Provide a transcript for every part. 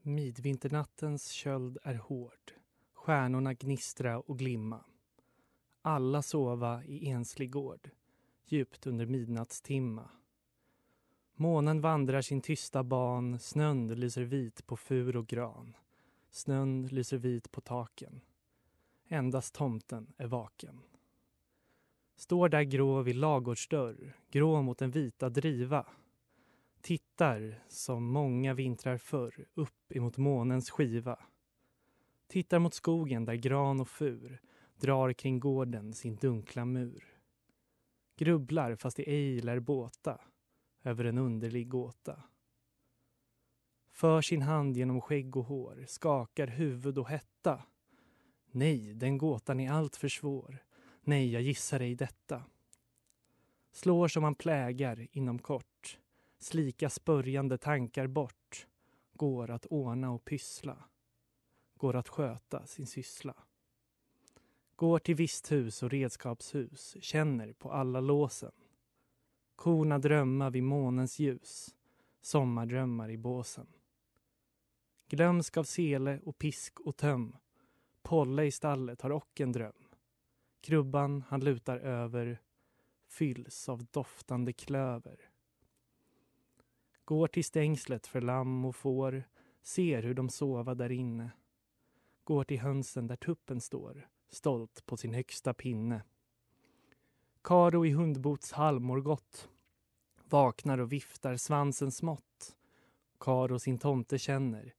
Midvinternattens köld är hård. Stjärnorna gnistra och glimma. Alla sova i enslig gård, djupt under midnattstimma. Månen vandrar sin tysta ban, snön lyser vit på fur och gran. Snön lyser vit på taken. Endast tomten är vaken. Står där grå vid lagårdsdörr, grå mot den vita driva Tittar, som många vintrar förr, upp emot månens skiva. Tittar mot skogen där gran och fur drar kring gården sin dunkla mur. Grubblar, fast det ej lär båta, över en underlig gåta. För sin hand genom skägg och hår, skakar huvud och hetta. Nej, den gåtan är allt för svår. Nej, jag gissar ej detta. Slår som han plägar inom kort slika spörjande tankar bort går att ordna och pyssla, går att sköta sin syssla. Går till visthus och redskapshus, känner på alla låsen. Korna drömma vid månens ljus, sommardrömmar i båsen. Glömsk av sele och pisk och töm, Polle i stallet har ock en dröm. Krubban han lutar över fylls av doftande klöver går till stängslet för lamm och får, ser hur de sova där inne. Går till hönsen där tuppen står, stolt på sin högsta pinne. Karo i hundbots halmor gott, vaknar och viftar svansen smått. Karo sin tomte känner,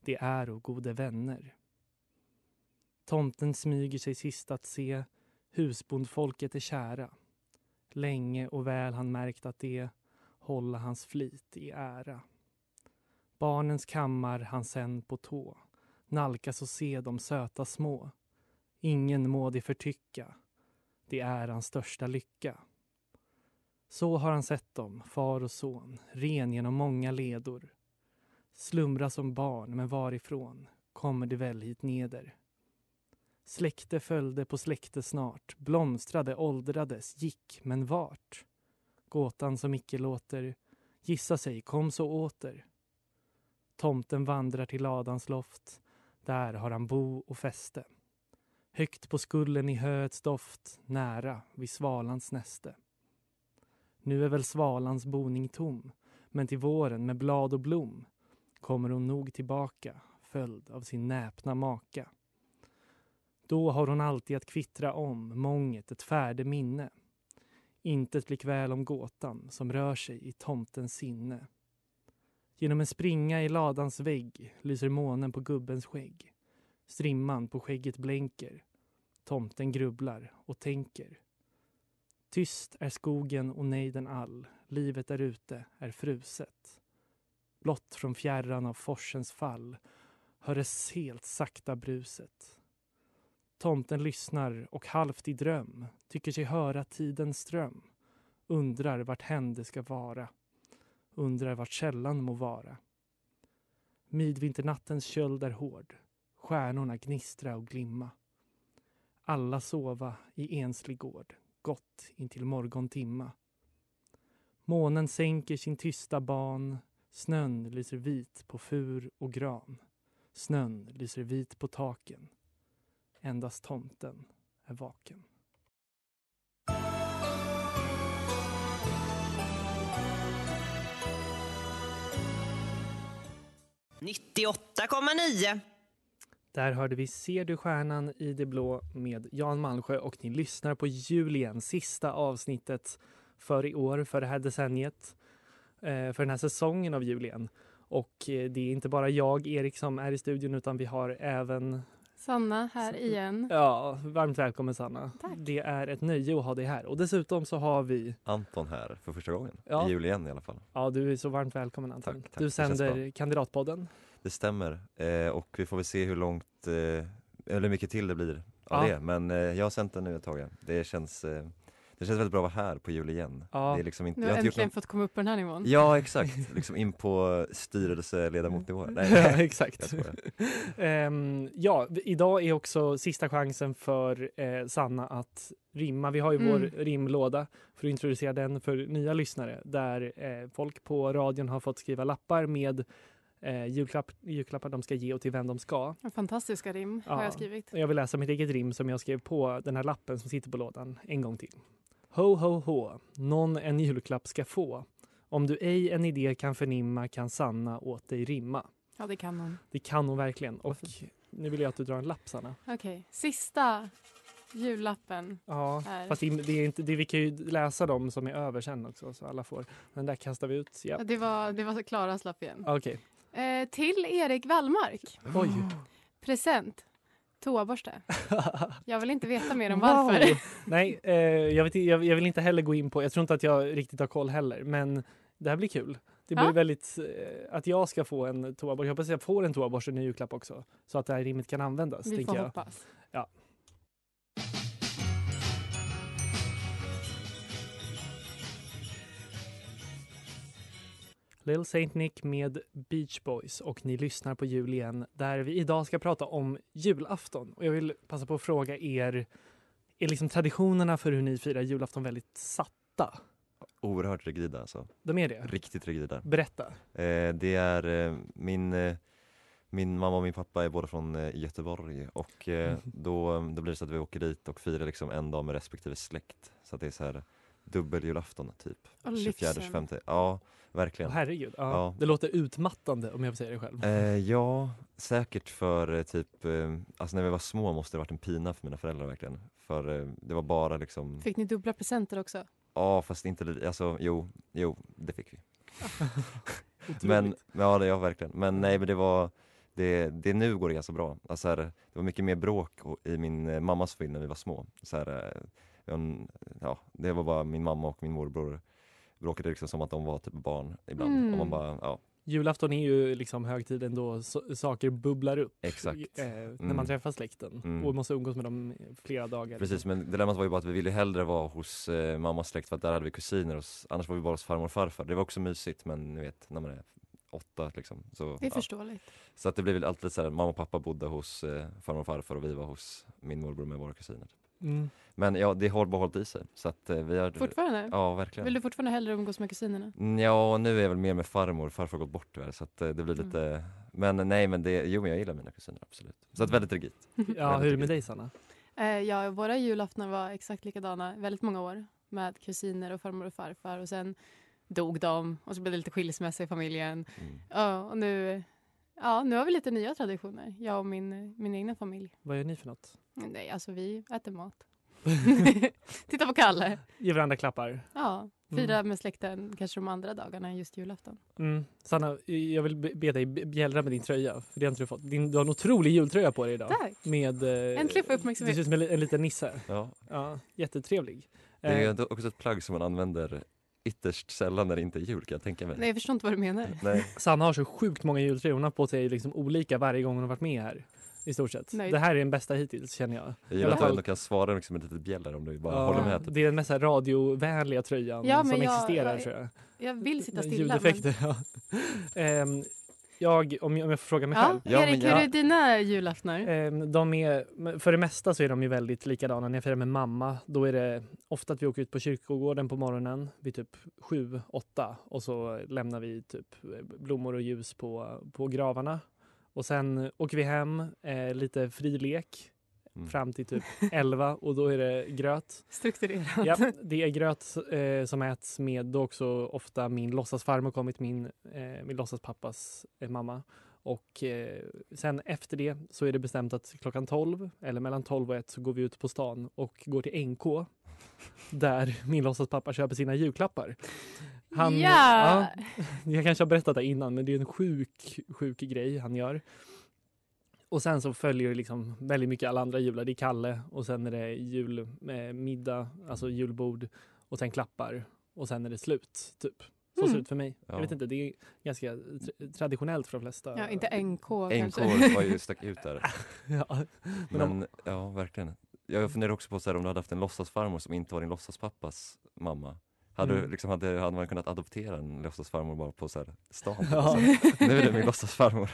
det är och gode vänner. Tomten smyger sig sist att se, husbondfolket är kära. Länge och väl han märkt att det hålla hans flit i ära. Barnens kammar han sen på tå, nalkas och se de söta små. Ingen må det förtycka, det är hans största lycka. Så har han sett dem, far och son, ren genom många ledor. Slumra som barn, men varifrån kommer det väl hit neder? Släkte följde på släkte snart, blomstrade, åldrades, gick, men vart? gåtan som icke låter gissa sig, kom så åter. Tomten vandrar till ladans loft, där har han bo och fäste. Högt på skullen i höets doft, nära vid svalans näste. Nu är väl svalans boning tom, men till våren med blad och blom kommer hon nog tillbaka, följd av sin näpna maka. Då har hon alltid att kvittra om, månget ett färde minne intet blir kväl om gåtan som rör sig i tomtens sinne. Genom en springa i ladans vägg lyser månen på gubbens skägg. Strimman på skägget blänker. Tomten grubblar och tänker. Tyst är skogen och nejden all, livet där ute är fruset. Blott från fjärran av forsens fall höres helt sakta bruset. Tomten lyssnar och halvt i dröm tycker sig höra tidens ström. Undrar vart hände ska vara. Undrar vart källan må vara. Midvinternattens köld är hård. Stjärnorna gnistra och glimma. Alla sova i enslig gård, gott intill morgontimma. Månen sänker sin tysta ban. Snön lyser vit på fur och gran. Snön lyser vit på taken. Endast tomten är vaken. ...98,9. Där hörde vi Ser du stjärnan i det blå med Jan Malmsjö och ni lyssnar på Julien, sista avsnittet för i år, för det här decenniet, eh, för den här säsongen eh, av Julien. Och det är inte bara jag, Erik, som är i studion utan vi har även Sanna här Så- igen. Ja, varmt välkommen Sanna. Tack. Det är ett nöje att ha dig här. Och dessutom så har vi, Anton här för första gången. Ja. I jul igen i alla fall. ja du är så varmt välkommen Anton. Tack, tack. Du Det känns sänder Kandidatpodden. Det stämmer. Eh, och vi får väl se hur långt, eh, eller hur mycket till det blir av Ja. det. Men eh, jag har sänt den nu ett tag. igen. Det känns, eh, det känns väldigt bra att vara här på jul igen. Ja. Det är liksom inte, Nu har jag jag har inte gjort äntligen fått komma upp på den här nivån. någon- Ja, exakt. Liksom in på styrelseledamotnivå. Nej, ja, nej. Jag exakt. skojar. Ehm, ja, vi- idag är också sista chansen för eh, Sanna att rimma. Vi har ju vår Mm. rimlåda för att introducera den för nya lyssnare där eh, folk på radion har fått skriva lappar med eh, julklapp, julklappar de ska ge och till vem de ska. Fantastiska rim har Ja. jag skrivit. Och Jag vill läsa mitt eget rim som jag skrev på den här lappen som sitter på lådan en gång till. Ho, ho, ho, någon en julklapp ska få. Om du ej en idé kan förnimma kan Sanna åt dig rimma. Ja, det kan hon. Det kan hon verkligen. Och nu vill jag att du drar en lapp, Sanna. Okej, sista jullappen Ja, här. fast det, det är inte, det, vi kan ju läsa dem som är över sen också så alla får. Den där kastar vi ut. Ja. Ah, Ja, Det var, det var Klaras lapp igen. Okej. Eh, till Erik Wallmark. Oj. Present. Toaborste. Jag vill inte veta mer Ah. om varför. Wow. Nej, eh, jag, vet, jag, jag vill inte heller gå in på, jag tror inte att jag riktigt har koll heller, men det här blir kul. Det blir Ja. väldigt, eh, att jag ska få en toaborste, jag hoppas jag får en toaborste i julklapp också, så att det här rimmet kan användas. Vi tänker får jag. hoppas. Ja. Little Saint Nick med Beach Boys och ni lyssnar på jul igen där vi idag ska prata om julafton. Och jag vill passa på att fråga er, är liksom traditionerna för hur ni firar julafton väldigt satta? Oerhört rigida alltså. De är det? Riktigt rigida. Berätta. Eh, det är eh, min, eh, min mamma och min pappa är båda från eh, Göteborg och eh, då, då blir det så att vi åker dit och firar liksom en dag med respektive släkt. Så att det är så här dubbeljulafton typ. Och 24-25. Ja, verkligen. Herregud. Ja. Ja. Det låter utmattande om jag får säga det själv. Eh, ja, säkert för eh, typ, eh, alltså när vi var små måste det varit en pina för mina föräldrar verkligen. För eh, det var bara liksom, Fick ni dubbla presenter också? ja fast inte, li- alltså jo, jo det fick vi. Otroligt. Men, ja det ja, verkligen. Men nej men det var, det, det nu går det ganska bra. Alltså här, det var mycket mer bråk och- i min eh, mammas familj när vi var små. Så här, eh, hon, ja, det var bara min mamma och min morbror bråkade liksom som att de var typ barn ibland. Och Mm. man bara, ja Julafton är ju liksom högtiden då so- saker bubblar upp. exakt. eh, när man Mm. träffar släkten Mm. och måste umgås med dem i flera dagar. Precis men dilemmat var ju bara att vi ville ju hellre vara hos eh, mammas släkt för att där hade vi kusiner och s- annars var vi bara hos farmor och farfar. Det var också mysigt men ni vet när man är åtta liksom. Så, Det är ja. förståeligt. så att det blev väl alltid så här, mamma och pappa bodde hos eh, farmor och farfar och vi var hos min morbror med våra kusiner. Mm. Men ja, det har bara hållit i sig. Så att eh, vi har... Fortfarande? Ja, verkligen. Vill du fortfarande hellre umgås med kusinerna? Mm, Ja, nu är jag väl mer med farmor. Farfar har gått bort tyvärr, så att eh, det blir Mm. lite... Men nej, men det... Jo, men jag gillar mina kusiner, absolut. Så Mm. att väldigt rigitt. Ja, hur är det med dig Sanna? Eh, ja, våra julaftnar var exakt likadana väldigt många år med kusiner och farmor och farfar och sen dog de och så blev det lite skilsmässa i familjen. Mm. Ja, och nu, ja, nu har vi lite nya traditioner, jag och min, min egna familj. Vad gör ni för något? Nej, alltså vi äter mat. Titta på Kalle. Ge varandra klappar. Ja, fira med släkten kanske de andra dagarna än just julafton. Mm. Sanna, jag vill be be dig bjällra med din tröja. För det har inte du fått. Din, du har en otrolig jultröja på dig idag. Tack! Med, eh, Äntligen får jag Du uppmärksamhet. ser ut som en, li- en liten nisse. Ja, Ja, jättetrevlig. det är ju Eh, ändå också ett plagg som man använder ytterst sällan när det inte är jul, kan jag tänka mig. Nej, jag förstår inte vad du menar. Nej. Sanna har så sjukt många jultröjor. Hon har på sig liksom olika varje gång hon har varit med här. I stort sett. Nöjd. Det här är den bästa hittills känner jag. Jag gillar att du Ja. ändå kan svara liksom med ett litet bjäller om du bara Ja, håller med. Typ. Det är den mest här radiovänliga tröjan Ja, men som jag- existerar jag- tror jag. Jag vill sitta Med stilla. Men... Ljudeffekter, ja. Ehm, jag, om jag, om jag får fråga mig Ja, själv. Ja, men Erik, hur jag- är dina julaftnar? Ehm, de är, men för det mesta så är de ju väldigt likadana. När jag firar med mamma, då är det ofta att vi åker ut på kyrkogården på morgonen vid typ sju, åtta och så lämnar vi typ blommor och ljus på, på gravarna. Och sen åker vi hem, eh, lite frilek Mm. fram till typ elva och då är det gröt. Strukturerat. Ja, det är gröt eh, som äts med då också ofta min låtsasfarmor kommit, min, eh, min låtsaspappas eh, mamma. Och eh, sen efter det så är det bestämt att klockan 12 eller mellan 12 och 1 så går vi ut på stan och går till NK där min låtsaspappa köper sina julklappar. Han- ja. Jag kanske har berättat det innan men det är en sjuk, sjuk grej han gör. Och sen så följer det liksom väldigt mycket alla andra jular. Det är Kalle och sen är det julmiddag, eh, middag, alltså julbord och sen klappar och sen är det slut, typ. Så ser det ut för mig. Jag Ja. vet inte, det är ganska tr- traditionellt för de flesta. Ja, inte NK kanske. NK var ju stack ut där. ja. Men om- Men ja, verkligen. Jag funderar också på så här, om du hade haft en låtsasfarmor som inte var din låtsaspappas mamma. Hade, du, Mm. liksom, hade, hade man kunnat adoptera en låtsasfarmor bara på så här, stan? Ja. Nu är det min låtsasfarmor.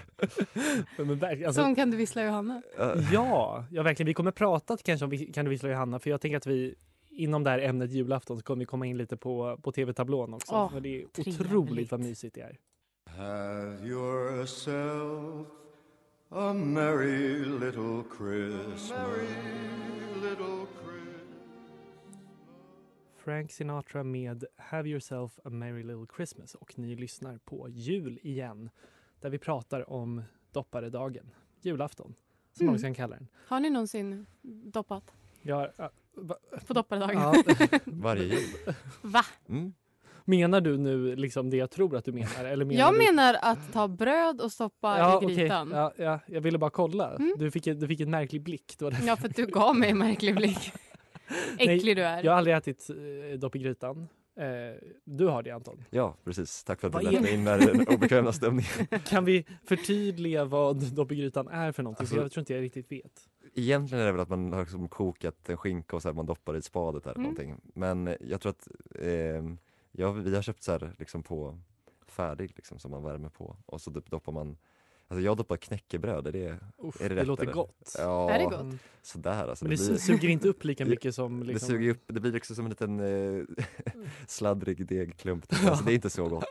Men verkligen, alltså, Som kan du vissla Johanna. Eh, Ja, ja, verkligen. Vi kommer prata kanske om vi- Kan du vissla Johanna? För jag tänker att vi inom det här ämnet julafton så kommer vi komma in lite på, på tv-tablån också. Åh, för det är trevligt. otroligt vad mysigt det är. Have yourself a merry little Christmas. Frank Sinatra med Have yourself a merry little Christmas och ni lyssnar på jul igen där vi pratar om dopparedagen, julafton som Mm. många kan kalla den. Har ni någonsin doppat? Jag, har- ja, va, På dopparedagen? ja, Varje jul. Va? Mm. menar du nu liksom det jag tror att du menar? Eller menar Jag du... menar att ta bröd och stoppa ja, i okej. grytan. Ja. Ja, ja, jag ville bara kolla. Mm. Du, fick, en- du fick en märklig blick. Det var därför. för att du gav mig en märklig blick. Äcklig du är. Jag har aldrig ätit eh, dopp i grytan. Eh, du har det Anton. Ja, precis. Tack för att du Vad är- lät mig in med den obekväma stämningen. Kan vi förtydliga vad dopp i grytan är för någonting? Alltså- För jag tror inte jag riktigt vet. Egentligen är det väl att man har liksom kokat en skinka och så här, man doppar i ett spadet eller Mm. någonting. Men jag tror att ehm, ja, vi har köpt så här, liksom på färdig liksom, som man värmer på och så typ doppar man Alltså jag doppar knäckebröd, är det, Uff, Är det det rätt, låter eller? gott. ja, Är det gott? Mm. sådär alltså. Men Det, det blir, su- suger inte upp lika Det- mycket som... det Liksom... suger ju upp, det blir liksom en liten eh, Mm. sladdrig degklump. typ. Alltså det är inte så gott.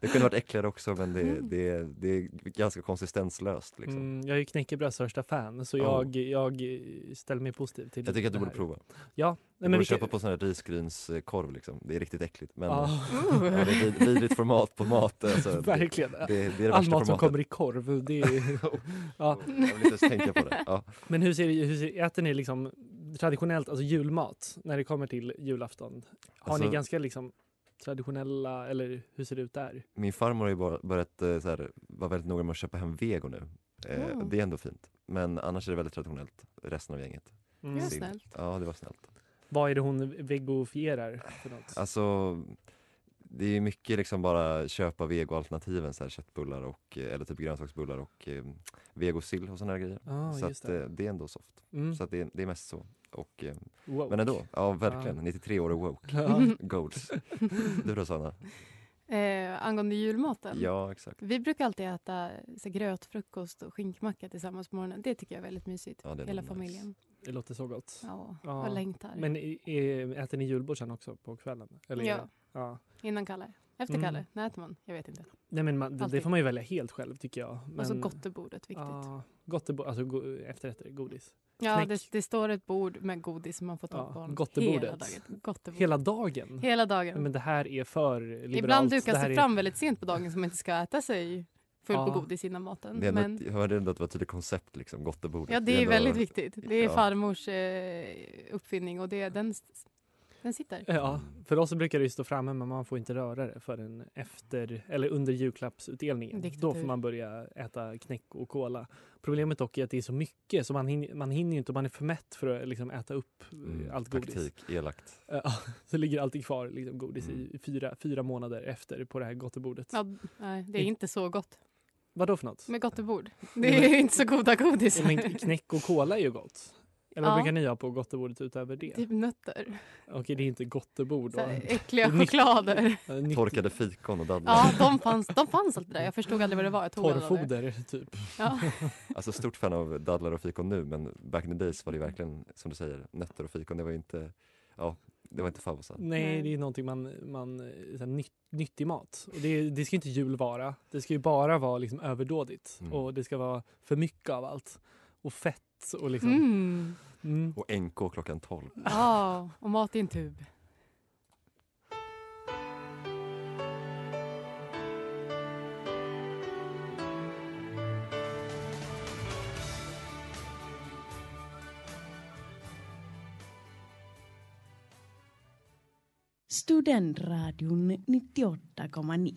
Det kunde varit äckligare också men det, Mm. det, det är ganska konsistenslöst liksom. Mm, jag är ju knäckebröds största fan så Oh. jag, jag eh, ställer mig positiv till Jag tycker att du det borde här. prova. Ja. Du borde köpa på sån här risgrynskorv liksom. Det är riktigt äckligt men eh, Ja, Ja, det är vid- vidrigt format på mat. Alltså, det, det, verkligen. det är det All värsta mat som formatet. kommer i korv. Det är... ja. Jag vill inte ens tänka på det. Ja. Men hur ser, det- hur ser, äter ni liksom traditionellt, alltså julmat, när det kommer till julafton? Har Alltså- ni ganska liksom traditionella, eller hur ser det ut där? Min farmor har ju bara börjat eh, så här, vara väldigt noga med att köpa hem vego nu. Eh, Mm. Det är ändå fint. Men annars är det väldigt traditionellt, resten av gänget. Mm. Ja, Sill. snällt. Ja, det var snällt. Vad är det hon vegofierar för något? Alltså, det är ju mycket liksom bara köpa vegoalternativen, så här, köttbullar och, eh, eller typ grönsaksbullar och eh, vegosill och såna här grejer. ah, så just att, det. eh, det är ändå soft. Mm. Så att det, det är mest så. Och, eh, Woke. men ändå, ja verkligen. Ja. 93 år och woke. Ja. Goals. Du då Sanna? Eh, angående julmaten. Ja, exakt. Vi brukar alltid äta så, här grötfrukost och skinkmacka tillsammans på morgonen. Det tycker jag är väldigt mysigt. Ja, det är Hela nog nice. familjen. Det låter så gott. Ja, Ja, jag längtar. Men i- i- äter ni julbord sen också på kvällen? Eller? Ja, ja. innan Kalle. Efter Mm. Kalle. När äter man? Jag vet inte. Nej, men man, det, det Alltid. får man ju välja helt själv tycker jag. Men, Och så gottebordet, viktigt. Ja, gottebo- alltså go- efterrätter, godis. ja, knäck. det, det står ett bord med godis som man får ta Ja, på honom gottebordet. hela dagen. Gottebordet. Hela dagen? Hela dagen. Men det här är för liberalt. Ibland Det dukas här det är- fram väldigt sent på dagen som man inte ska äta sig full Ja. på godis innan maten. Det är ändå, Men, ett- Jag hörde ändå att det var ett tydligt koncept, liksom, gottebordet. ja, det är ändå- väldigt viktigt. Det är Ja. farmors eh, uppfinning och det, den, den sitter. Ja, för oss så brukar det ju stå framme men man får inte röra det förrän efter eller under julklappsutdelningen. Diktatur. Då får man börja äta knäck och kola. Problemet dock är att det är så mycket så man hinner, man hinner ju inte och man är för mätt för att liksom äta upp eh, Mm, allt godis. Taktik, elakt. Ja, så ligger alltid kvar liksom, godis i- Mm. i fyra, fyra månader efter på det här gottebordet. Ja, nej, det är inte så gott Vadå för något? med gottebord. Nej, Det men- är inte så goda Ja, godisar. Men knäck och kola är ju gott. Eller vad Ja. brukar ni ha på gottebordet utöver det? Typ nötter. Okej, det är inte gottebord. Så här, då. äckliga Nytt- choklader. Ja, nytt- Torkade fikon och dadlar. Ja, de fanns, de fanns alltid där. Jag förstod aldrig vad det var. Jag tog aldrig av det. Torrfoder, typ. Ja. Alltså stort fan av dadlar och fikon nu, men back in the days var det ju verkligen, som du säger, nötter och fikon. Det var ju inte, ja, det var inte favoriten. Nej, Nej. det är någonting man, man eh, så här, nytt, nyttig mat. Och det, det ska inte jul vara. Det ska ju bara vara liksom överdådigt Mm. och det ska vara för mycket av allt. Och fett och liksom. Mm. Mm. Och NK klockan 12. Ja, och mat i en tub. Studentradion 98,9.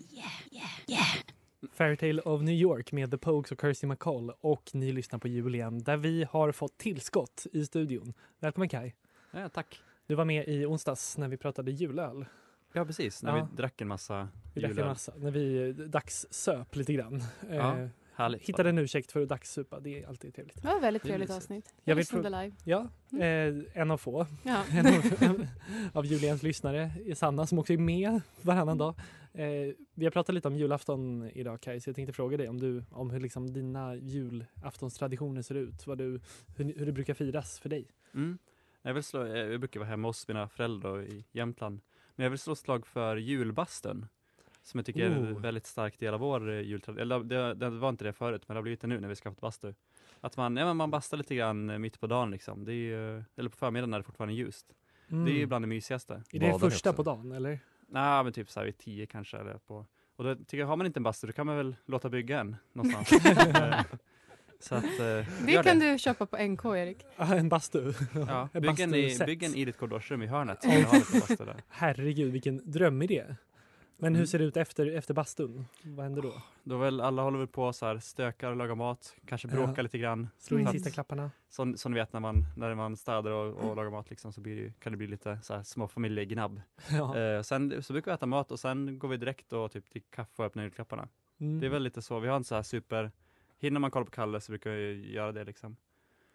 Fairytale of New York med The Pogues och Kirsty MacColl och ni lyssnar på jul igen där vi har fått tillskott i studion. Välkommen Kai. Ja, tack. Du var med i onsdags när vi pratade julöl. Ja, precis. När Ja. vi drack en massa Vi drack en julöl. massa, när vi eh, dagssöp lite grann. Ja. Eh, Härligt. hittade en ursäkt för att dagssupa, det är alltid trevligt. Det var ett väldigt Det är trevligt mysigt. avsnitt. Jag Jag vill lyssnade live. Ja, Mm. eh, en av få Ja. en av, en av Julians lyssnare, Sanna som också är med varannan dag. Eh, vi har pratat lite om julafton idag Kaj, så jag tänkte fråga dig om, du, om hur liksom dina julaftonstraditioner ser ut. Vad du, hur, hur det brukar firas för dig. Mm. Jag, vill slå, eh, jag brukar vara hemma hos mina föräldrar i Jämtland. Men jag vill slå slag för julbasten. Som jag tycker är Oh. en väldigt stark del av vår eh, jultradition. Eller det, det var inte det förut, men det har blivit det nu när vi skaffat bastu. Att man, ja, men man bastar lite grann eh, mitt på dagen liksom. Det är ju, eller på förmiddagen när det fortfarande är ljust. Det är ju bland det mysigaste. Mm. Är det Badar ni första på också? dagen eller? Nej, men typ så här vid tio kanske. Eller på. Och då tycker jag, har man inte en bastu, då kan man väl låta bygga en någonstans. Eh, så att, eh, Det gör kan du köpa på NK, Erik. Ah, en bastu. Ja, Ett bygg, en i, bastusätt. bygg en i ditt korridorsrum i hörnet. så kan du ha lite bastu där. Herregud vilken drömidé. Men hur Mm. Ah, ser det ut efter, efter bastun? Vad händer då? Då väl alla håller väl på så här, stökar och lagar mat, kanske bråkar Ja. lite grann. Slå in Mm. sista klapparna. Som, som ni vet när man, när man städar och, och lagar mat liksom, så blir det, ju- kan det bli lite så här, små familjegnabb. Ja. Eh, sen så brukar vi äta mat och sen går vi direkt och typ till kaffe och öppnar julklapparna. Mm. Det är väl lite så, vi har inte så här super, hinner man kolla på Kalle så brukar vi göra det liksom.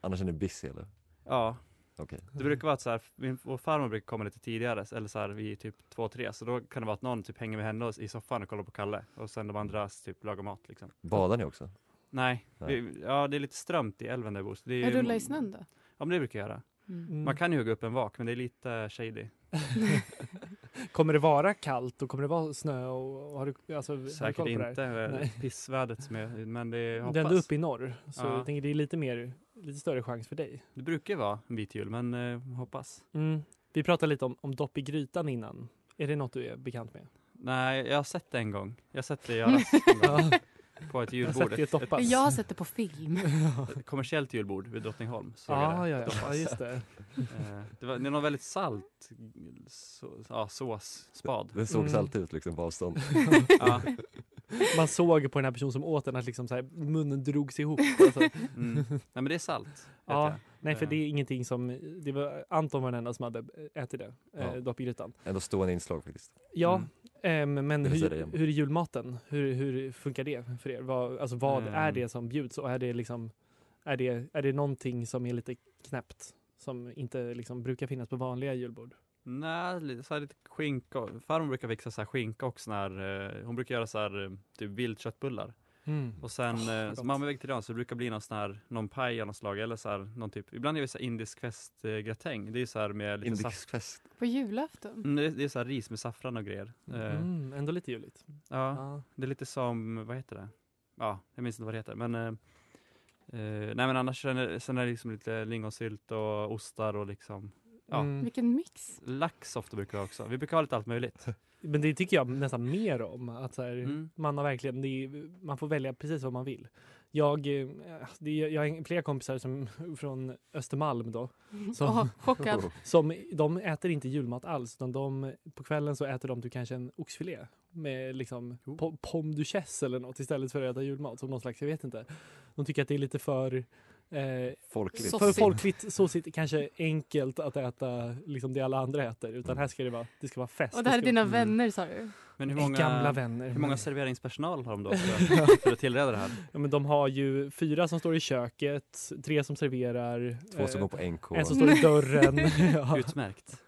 Annars är ni busy eller? Ja, Okej. Det brukar vara att så här, min, vår farmor brukar komma lite tidigare, eller så här vid typ två, tre, så då kan det vara att någon typ hänger med henne och- i soffan och kollar på Kalle och sen de andra typ lagar mat liksom. Badar ni också? Nej, Vi, ja det är lite strömt i älven där vi bor. så det är Jag ju- rullar i snön då. Ja men det brukar jag göra. Mm. Man kan ju hugga upp en vak men det är lite shady. Kommer det vara kallt och kommer det vara snö? Och har du, alltså, har du koll Säkert på det här? inte eh, Nej. pissvädret som är, men det Det är ändå hoppas. uppe i norr, så Ja. jag tänker det är lite, mer, lite större chans för dig. Mm. Det brukar ju vara en vit jul men eh, hoppas. Vi pratade lite om, om dopp i grytan innan. Är det något du är bekant med? Nej, jag har sett det en gång. Jag har sett det göras en gång Ja, på ett jag har sett julbord. det Ett, ett, doppas. Jag har sett det på film. ett kommersiellt julbord vid Drottningholm. såg jag Ja, ja, det ja, ja, doppas. just det. Eh, Det var det är någon väldigt salt så, ja, sås, spad. Det sågs Mm. alltid ut liksom på avstånd. Ja, Man såg på den här personen som åt den att liksom så här, munnen drogs ihop. Alltså, mm. Nej men det är salt. vet Ja. jag. nej, för Eh. det är ingenting som... Det var Anton var den enda som hade ätit det, eh, Ja. dopp i grytan. Ändå stående inslag faktiskt. Ja, Mm. ehm, men Vill du säga det hur, igen? hur är julmaten? Hur, hur funkar det för er? Vad, alltså, vad är Ehm. det som bjuds och är det liksom... Är det, är det någonting som är lite knäppt som inte liksom brukar finnas på vanliga julbord? Nej, lite- så här lite skinka. och- Farmor brukar fixa så här skinka och sån här, eh, hon brukar göra så här eh, typ vildköttbullar. Och sen, Åh, eh, Ah, vad så gott. mamma vägde till den så det brukar bli någon sån här, någon paj av något slag eller så här, någon typ, ibland gör vi så här indisk festgratäng. Det är så här med lite saft. Indexfest. På julafton. Mm, det är- det är så här ris med saffran och grejer. Eh, Mm, Ah. ändå lite juligt. Ja. Ja. Det är lite som, vad heter det? Ja, jag minns inte vad det heter, men eh, eh, Nej men annars sen är, sen är det liksom lite lingonsylt och ostar och liksom Ja. Mm. Vilken mix. Lax ofta brukar vi ha också, vi brukar ha lite allt möjligt Men det tycker jag nästan mer om. Att så här, mm. man, har verkligen, det är, man får välja precis vad man vill. Jag, eh, det, är- jag har flera kompisar som, från Östermalm då, Så- Åh, chockad. Oh. Som, de äter inte julmat alls, utan de, på kvällen så äter de typ kanske en oxfilé med liksom Oh. po- pomme duchesse eller något istället för att äta julmat. Som någon slags, jag vet inte. De tycker att det är lite för, eh, Folkligt. för Sossigt. folkligt, såsigt, kanske enkelt att äta liksom det alla andra äter. Utan här ska det vara, det Mm. ska vara fest. Och det här är ska vara- dina vänner sa du. Men hur Gamla många, vänner. hur många serveringspersonal har de då för, för att tillreda det här? ja, men de har ju fyra som står i köket, tre som serverar, Två som eh, går på Mm, NK. en som står i dörren. ja. Utmärkt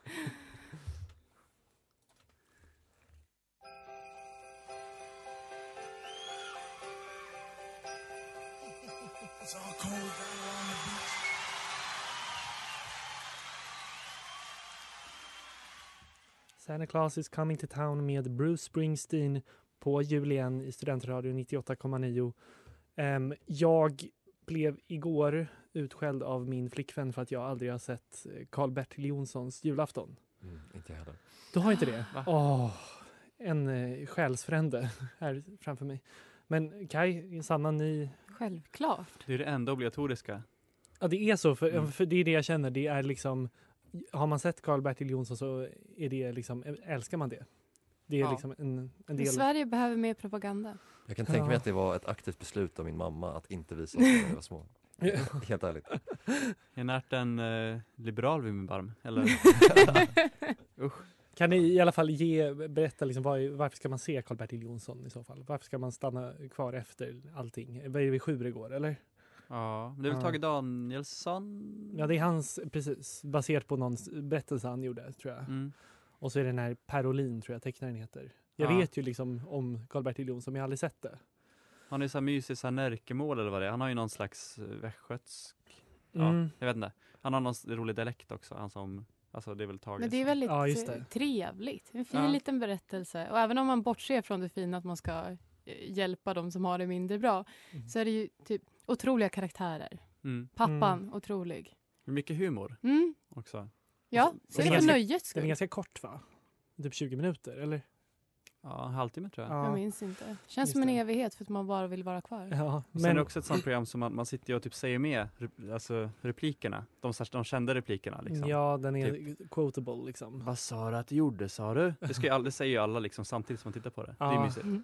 Santa Claus is coming to town med Bruce Springsteen på jul igen i Studentradion 98,9. Ehm, jag blev igår utskälld av min flickvän för att jag aldrig har sett eh, Karl-Bertil Jonssons julafton. Mm, inte jag heller. Du har inte det? Va? Åh, en eh, själsfrände här framför mig. Men Kai, Sanna, ni... Självklart. Det är det enda obligatoriska Ja, det är så, för, Mm. för det är det jag känner. Det är liksom... Har man sett Karl-Bertil Jonsson så är det liksom, älskar man det. Det är Ja. liksom en, en Men del. Sverige behöver mer propaganda. Jag kan tänka mig Ja. att det var ett aktivt beslut av min mamma att inte visa oss när vi var små. Helt ärligt. Jag närt en eh, liberal vid min barm. Eller, Kan ni i alla fall ge, berätta liksom, vad, är- varför ska man se Karl-Bertil Jonsson i så fall? Varför ska man stanna kvar efter allting? Vad är det vid Sjuregård eller? ja, men det är väl Ja. Tage Danielsson? Ja, det är hans, precis, baserat på någon s- berättelse han gjorde tror jag. Mm. Och så är det den här Perolin tror jag tecknaren heter. Jag Ja. vet ju liksom om Karl-Bertil Jonsson men jag har aldrig sett det. Han är ju så här mysig, så här Närkemål eller vad det är. Han har ju någon slags eh, västgötsk, Ja. Mm. jag vet inte. Han har någon s- rolig dialekt också, han som, alltså det är väl Tage. Men det är som- väldigt Ja, just eh, det. trevligt. En fin Ja. liten berättelse. Och även om man bortser från det fina att man ska eh, hjälpa de som har det mindre bra Mm. så är det ju typ otroliga karaktärer. Mm. Pappan, otrolig. Mycket humor Mm. också. Ja, Och så- så och det är för ganska- nöjets Den Alltså, är skull. ganska kort va? Typ 20 minuter eller? Ja, en halvtimme tror jag. Jag Ja. minns inte. Känns Just som en det. evighet för att man bara vill vara kvar. ja. Sen är det Men, också ett sånt program som man, man sitter ju och typ säger med rep- alltså replikerna, de, så här- de kända replikerna liksom. ja, den är quotable liksom. Vad sa du att du gjorde sa du? Det, ska ju alla, det säger ju alla liksom samtidigt som man tittar på det. Det Ja. är mysigt. Mm.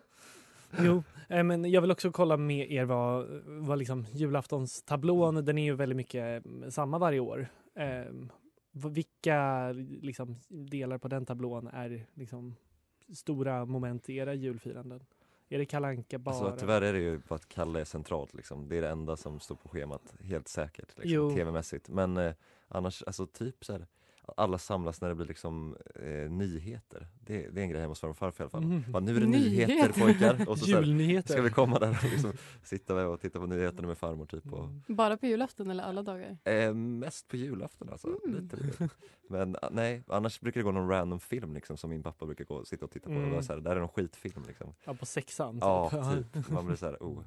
Jo, eh, men jag vill också kolla med er vad, vad liksom julaftonstablån, den är ju väldigt mycket mm, samma varje år. Eh, vad- vilka liksom, delar på den tablån är liksom, stora moment i era julfiranden? Är det Kalle Anka bara? Alltså, tyvärr är det ju bara att Kalle är centralt liksom. Det är det enda som står på schemat, helt säkert. Jo. Liksom, Tv-mässigt. Men eh, annars, alltså typ så här, alla samlas när det blir liksom eh, nyheter. Det, det är en grej hemma hos farmor och farfar i alla fall. Mm. Bara, nu är det nyheter, pojkar! Och så, så här, Julnyheter? ska vi komma där och liksom sitta med och titta på nyheterna med farmor typ. Och, Mm. Bara på julafton eller alla dagar? Eh, mest på julafton alltså. Mm. Lite roligt. Men ah, nej, annars brukar det gå någon random film liksom som min pappa brukar gå och sitta och titta på. Mm. Och vara så här, där är någon skitfilm liksom. Ja, på sexan? typ. Ja, typ. Man blir så här, oh.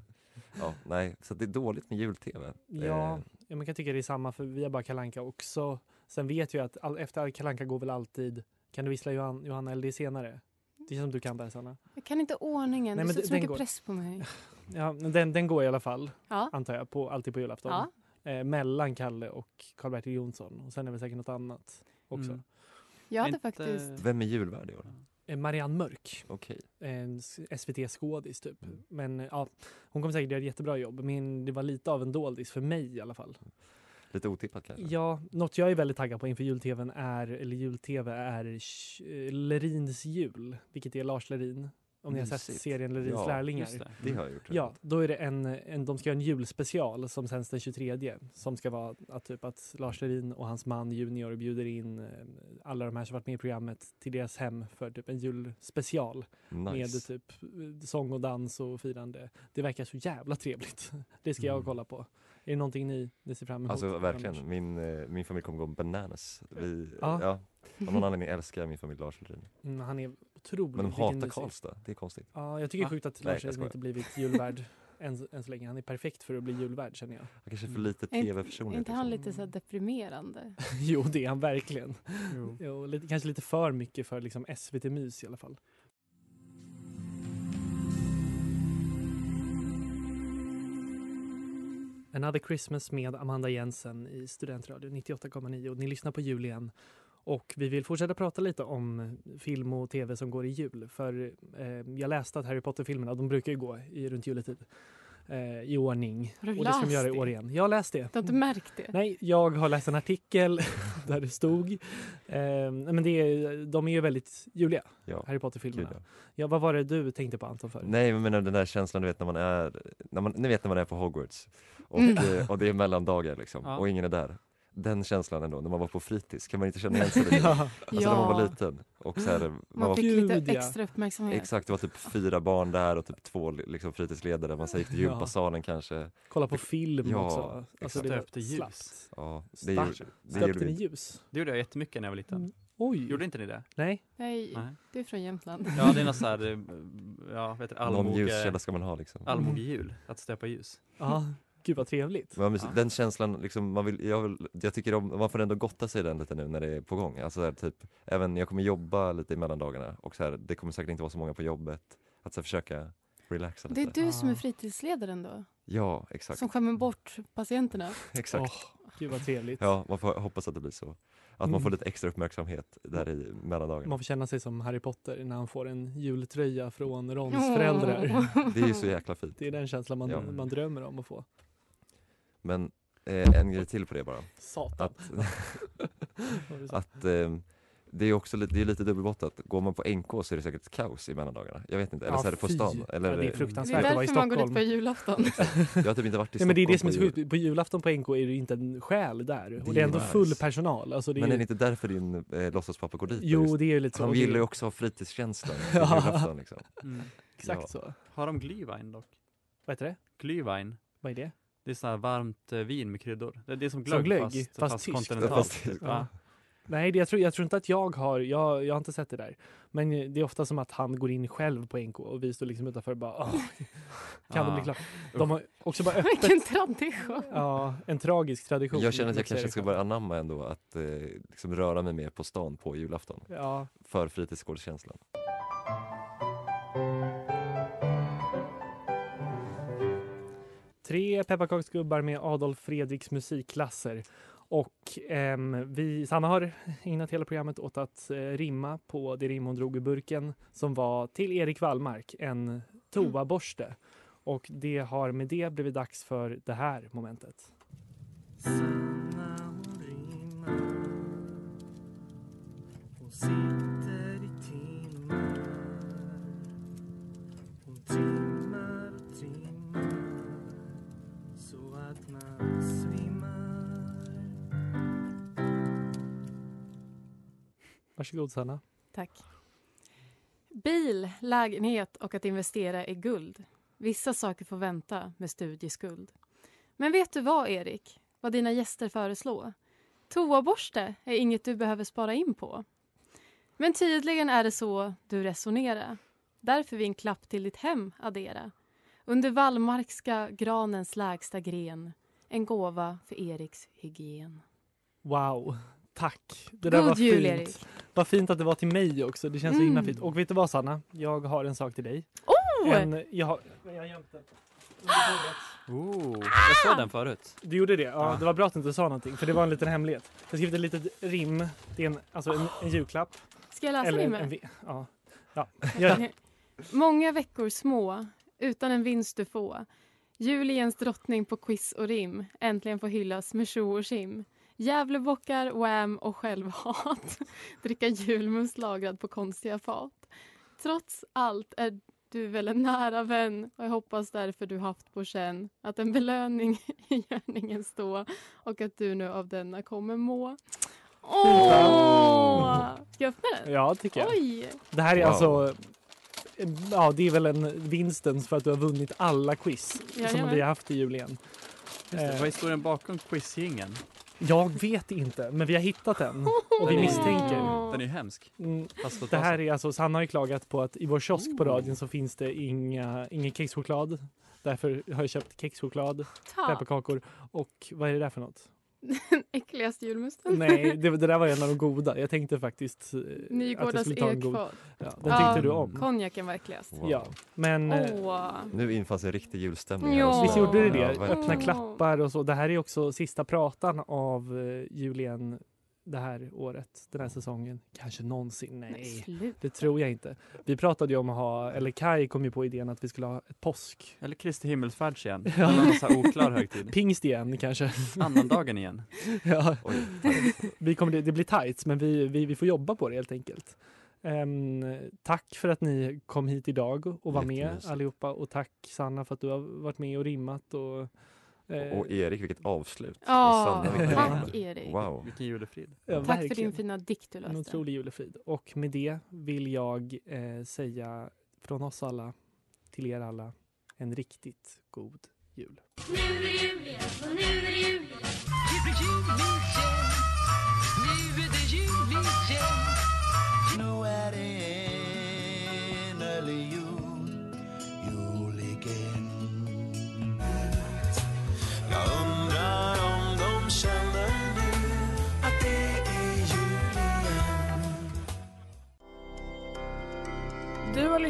Ja, nej, så det är dåligt med jul-tv. Ja, Eh, Ja, man kan tycka det är samma för vi har bara Kalle Anka också. Sen vet jag att all, efter Kalle Anka går väl alltid Kan du vissla Johan, Johanna eller det är senare? Det känns som du kan det här, Sanna. Jag kan inte ordningen. Nej, men det sätter d- så den mycket går. press på mig. Ja, men den, den går i alla fall, Ja. antar jag, på, alltid på julafton. ja. Eh, mellan Kalle och Karl-Bertil Jonsson. Och sen är det säkert något annat också. Mm. Jag hade Inte- faktiskt... Vem är julvärd i år? Eh, Marianne Mörk, Okej. en SVT-skådis typ. Mm. Men eh, ja, hon kommer säkert göra ett jättebra jobb. Men det var lite av en doldis för mig i alla fall. Lite otippat kanske? Ja, något jag är väldigt taggad på inför julteven är, eller julteve är sh- eh, Lerins jul, vilket är Lars Lerin. Om ni har sett Mysigt. serien Lerins Ja, lärlingar. Just det. Det har jag gjort. Ja, då är det en, en, de ska göra en julspecial som sänds den 23 som ska vara att, typ att Lars Lerin och hans man Junior bjuder in eh, alla de här som varit med i programmet till deras hem för typ en julspecial med Nice. typ eh, sång och dans och firande. Det verkar så jävla trevligt. Det ska jag Mm. kolla på. Är det någonting ni, ni ser fram emot? Alltså annars? verkligen, min, eh, min familj kommer gå bananas. Vi, Ja. ja. av någon anledning älskar min familj Lars Lerin. Mm, han är otrolig. Men de Vilken hatar mysig- Karlstad, det är konstigt. Ja, jag tycker det är Va? sjukt att Nej, Lars jag Lerin skojar. inte blivit julvärd än, än så länge. Han är perfekt för att bli julvärd känner jag. Han kanske är för lite Är inte- tv-personlighet. Är inte han liksom. lite Mm. så här deprimerande? jo, det är han verkligen. Jo. Jo, lite, kanske lite för mycket för liksom SVT-mys i alla fall. Another Christmas med Amanda Jensen i Studentradion 98,9. Ni lyssnar på jul igen. Och vi vill fortsätta prata lite om film och tv som går i jul. För eh, jag läste att Harry Potter-filmerna, de brukar ju gå i, runt juletid. Eh, I ordning. Har du och det ska de läst göra i det? år igen. Jag har läst det. Du har inte märkt det? Nej, jag har läst en artikel där det stod. Eh, men det är, de är ju väldigt juliga, Ja. Harry Gud, Potter-filmerna. ja. Ja, vad var det du tänkte på Anton? För? Nej men den där känslan du vet när man är, när man, ni vet när man är på Hogwarts och, eh, och det är mellandagar liksom Ja. och ingen är där. Den känslan ändå, när man var på fritids, kan man inte känna igen sig i det? Alltså Ja, när man var liten och så här, man Man var, fick Gud, lite ja. extra uppmärksamhet. exakt det var typ fyra barn där och typ två liksom, fritidsledare, man så här gick till Ja. gympasalen kanske. kolla på film Ja, också. Alltså, exakt. det var Stöpte ljus. slappt. Ja, det Stark. gjorde, det gjorde Stöpte ni vi. ljus? Det gjorde jag jättemycket när jag var liten. Mm. Oj! Gjorde inte ni det? Nej, Nej, Nej. du är från Jämtland. Ja, det är något så här, eh, ja, vet du, Någon allmoge, ljuskälla ska man ha liksom. allmogejul, att stöpa ljus. ja, gud vad trevligt. Men vad mysigt. Ja. Den känslan, liksom, man vill, jag, vill, jag tycker om, man får ändå gotta sig i den lite nu när det är på gång. Alltså, så här, typ, även jag kommer jobba lite i mellandagarna och så här, det kommer säkert inte vara så många på jobbet. Att så här, försöka relaxa lite. Det är du som är Ah. fritidsledaren då? Ja, exakt. Som skämmer bort patienterna? exakt. Åh, Gud vad trevligt. Ja, man får hoppas att det blir så. Att man får Mm. lite extra uppmärksamhet där i mellandagarna. Man får känna sig som Harry Potter när han får en jultröja från Rons Åh. föräldrar. Det är ju så jäkla fint. Mm. Det är den känslan man, Ja. man drömmer om att få. Men eh, en grej till på det bara. Satan. Att, vad du sa. att eh, det är också lite, det är lite dubbelbottnat. Går man på NK så är det säkert kaos i mellandagarna. Jag vet inte, eller Ja, så är det på fy. stan. Eller, Ja, det är Det fruktansvärt är att vara i därför man går dit Stockholm. på julafton. Jag har typ inte varit i Ja, men det är det som är Stockholm så på jul. sjukt. På julafton på NK är det ju inte en själ där. Det Och det är är ändå nice. full personal. Alltså, det är Men är det ju... inte därför din eh, låtsaspappa går dit? då Jo, just? det är ju lite så. Han Och det är gillar ju ju också fritidskänslan på Ja. julafton. Liksom. Mm. Exakt Ja. så. Har de glühwein dock? Vad heter det? Glühwein, Vad är det? det är sån här varmt eh, vin med kryddor. Det, det är som glögg, Som glögg, fast, fast tyskt. kontinentalt. Fast tyskt. Ja. Nej, det, jag, tror, jag tror inte att jag har, jag, jag har inte sett det där. Men eh, det är ofta som att han går in själv på NK och vi står liksom utanför och bara "Åh, kan det Ah. bli klart? De har också bara öppet, Vilken tradition. ja, en tragisk tradition. Jag känner att jag Liksom, kanske säger ska det. börja anamma ändå att eh, liksom röra mig mer på stan på julafton. Ja, För fritidsgårdskänslan. tre pepparkaksgubbar med Adolf Fredriks musikklasser. Och ehm, vi, Sanna har ägnat hela programmet åt att eh, rimma på det rim hon drog ur burken som var till Erik Wallmark, en toaborste. Och det har med det blivit dags för det här momentet. Varsågod Sanna. Tack. Bil, lägenhet och att investera i guld. Vissa saker får vänta med studieskuld. Men vet du vad, Erik? Vad dina gäster föreslår? Toaborste är inget du behöver spara in på. Men tydligen är det så du resonerar. Därför vi en klapp till ditt hem addera. Under Wallmarkska granens lägsta gren. En gåva för Eriks hygien. Wow, tack. Det där var God jul, fint. Erik. Vad fint att det var till mig också. Det känns så himla Mm. fint. Och vet du vad Sanna? Jag har en sak till dig. Oh! En, jag har, jag har gömt den. under bordet. Oh, jag såg den förut. Du gjorde det? Ja, Ja. det var bra att du inte sa någonting för det var en liten hemlighet. Jag har skrivit ett litet rim. Det är en, alltså en, en julklapp. Ska jag läsa Eller en, din en, vi- ja. Ja. Gör det. Okej. Många veckor små, utan en vinst du få. Juliens drottning på quiz och rim äntligen får hyllas med tjo och tjim. Gävlebockar, wham och självhat. Dricka julmust lagrad på konstiga fat. Trots allt är du väl en nära vän och jag hoppas därför du haft på känn att en belöning i gärningen stå och att du nu av denna kommer må. Åh! Ska jag öppna den? ja, tycker jag. Oj! Det här är Wow. alltså... Ja, det är väl en vinstens för att du har vunnit alla quiz som Jajamän. vi har haft i jul igen. Just det, Eh. vad är historien bakom quizgingen? Jag vet inte, men vi har hittat den. Och vi Den är- misstänker. Den är ju hemsk. Mm, Fast på ett Det bra här sätt. är alltså, Sanna har ju klagat på att i vår kiosk på radion så finns det inga, ingen kexchoklad. Därför har jag köpt kexchoklad, Ta pepparkakor och vad är det där för något? den äckligaste julmusten. Nej, det, det där var en av de goda. Jag tänkte faktiskt eh, att jag Nygårdas skulle ta en god. Mm. ekfat. Ja, den tyckte Ja. du om. Konjaken var äckligast. Wow. Ja, men eh, Åh. Nu infann sig riktig julstämning. här Ja. hos mig. visst gjorde det det? Ja, verkligen. Öppna Åh. klappar och så. Det här är också sista pratan av eh, Julien det här året, den här säsongen. Kanske någonsin. Nej, Nej. slut. Det tror jag inte. Vi pratade ju om att ha, eller Kai kom ju på idén att vi skulle ha ett påsk. Eller Kristi himmelsfärds igen. Det var någon så här oklar högtid. Pingst igen kanske. Annandagen igen. ja. Oj, vi kommer, det, det blir tight, men vi, vi, vi får jobba på det helt enkelt. Ehm, tack för att ni kom hit idag och var med Jättemysigt. allihopa och tack Sanna för att du har varit med och rimmat och eh, och Erik, vilket avslut. Och Ja, Sanna, vilken- tack Erik. Wow. Vilken julefrid. ja, Tack för verkligen. din fina dikt du En löste. otrolig julefrid. Och med det vill jag eh, säga från oss alla till er alla en riktigt god jul. Nu är det en early jul, jul igen Jag undrar om de känner nu att det är jul igen Du har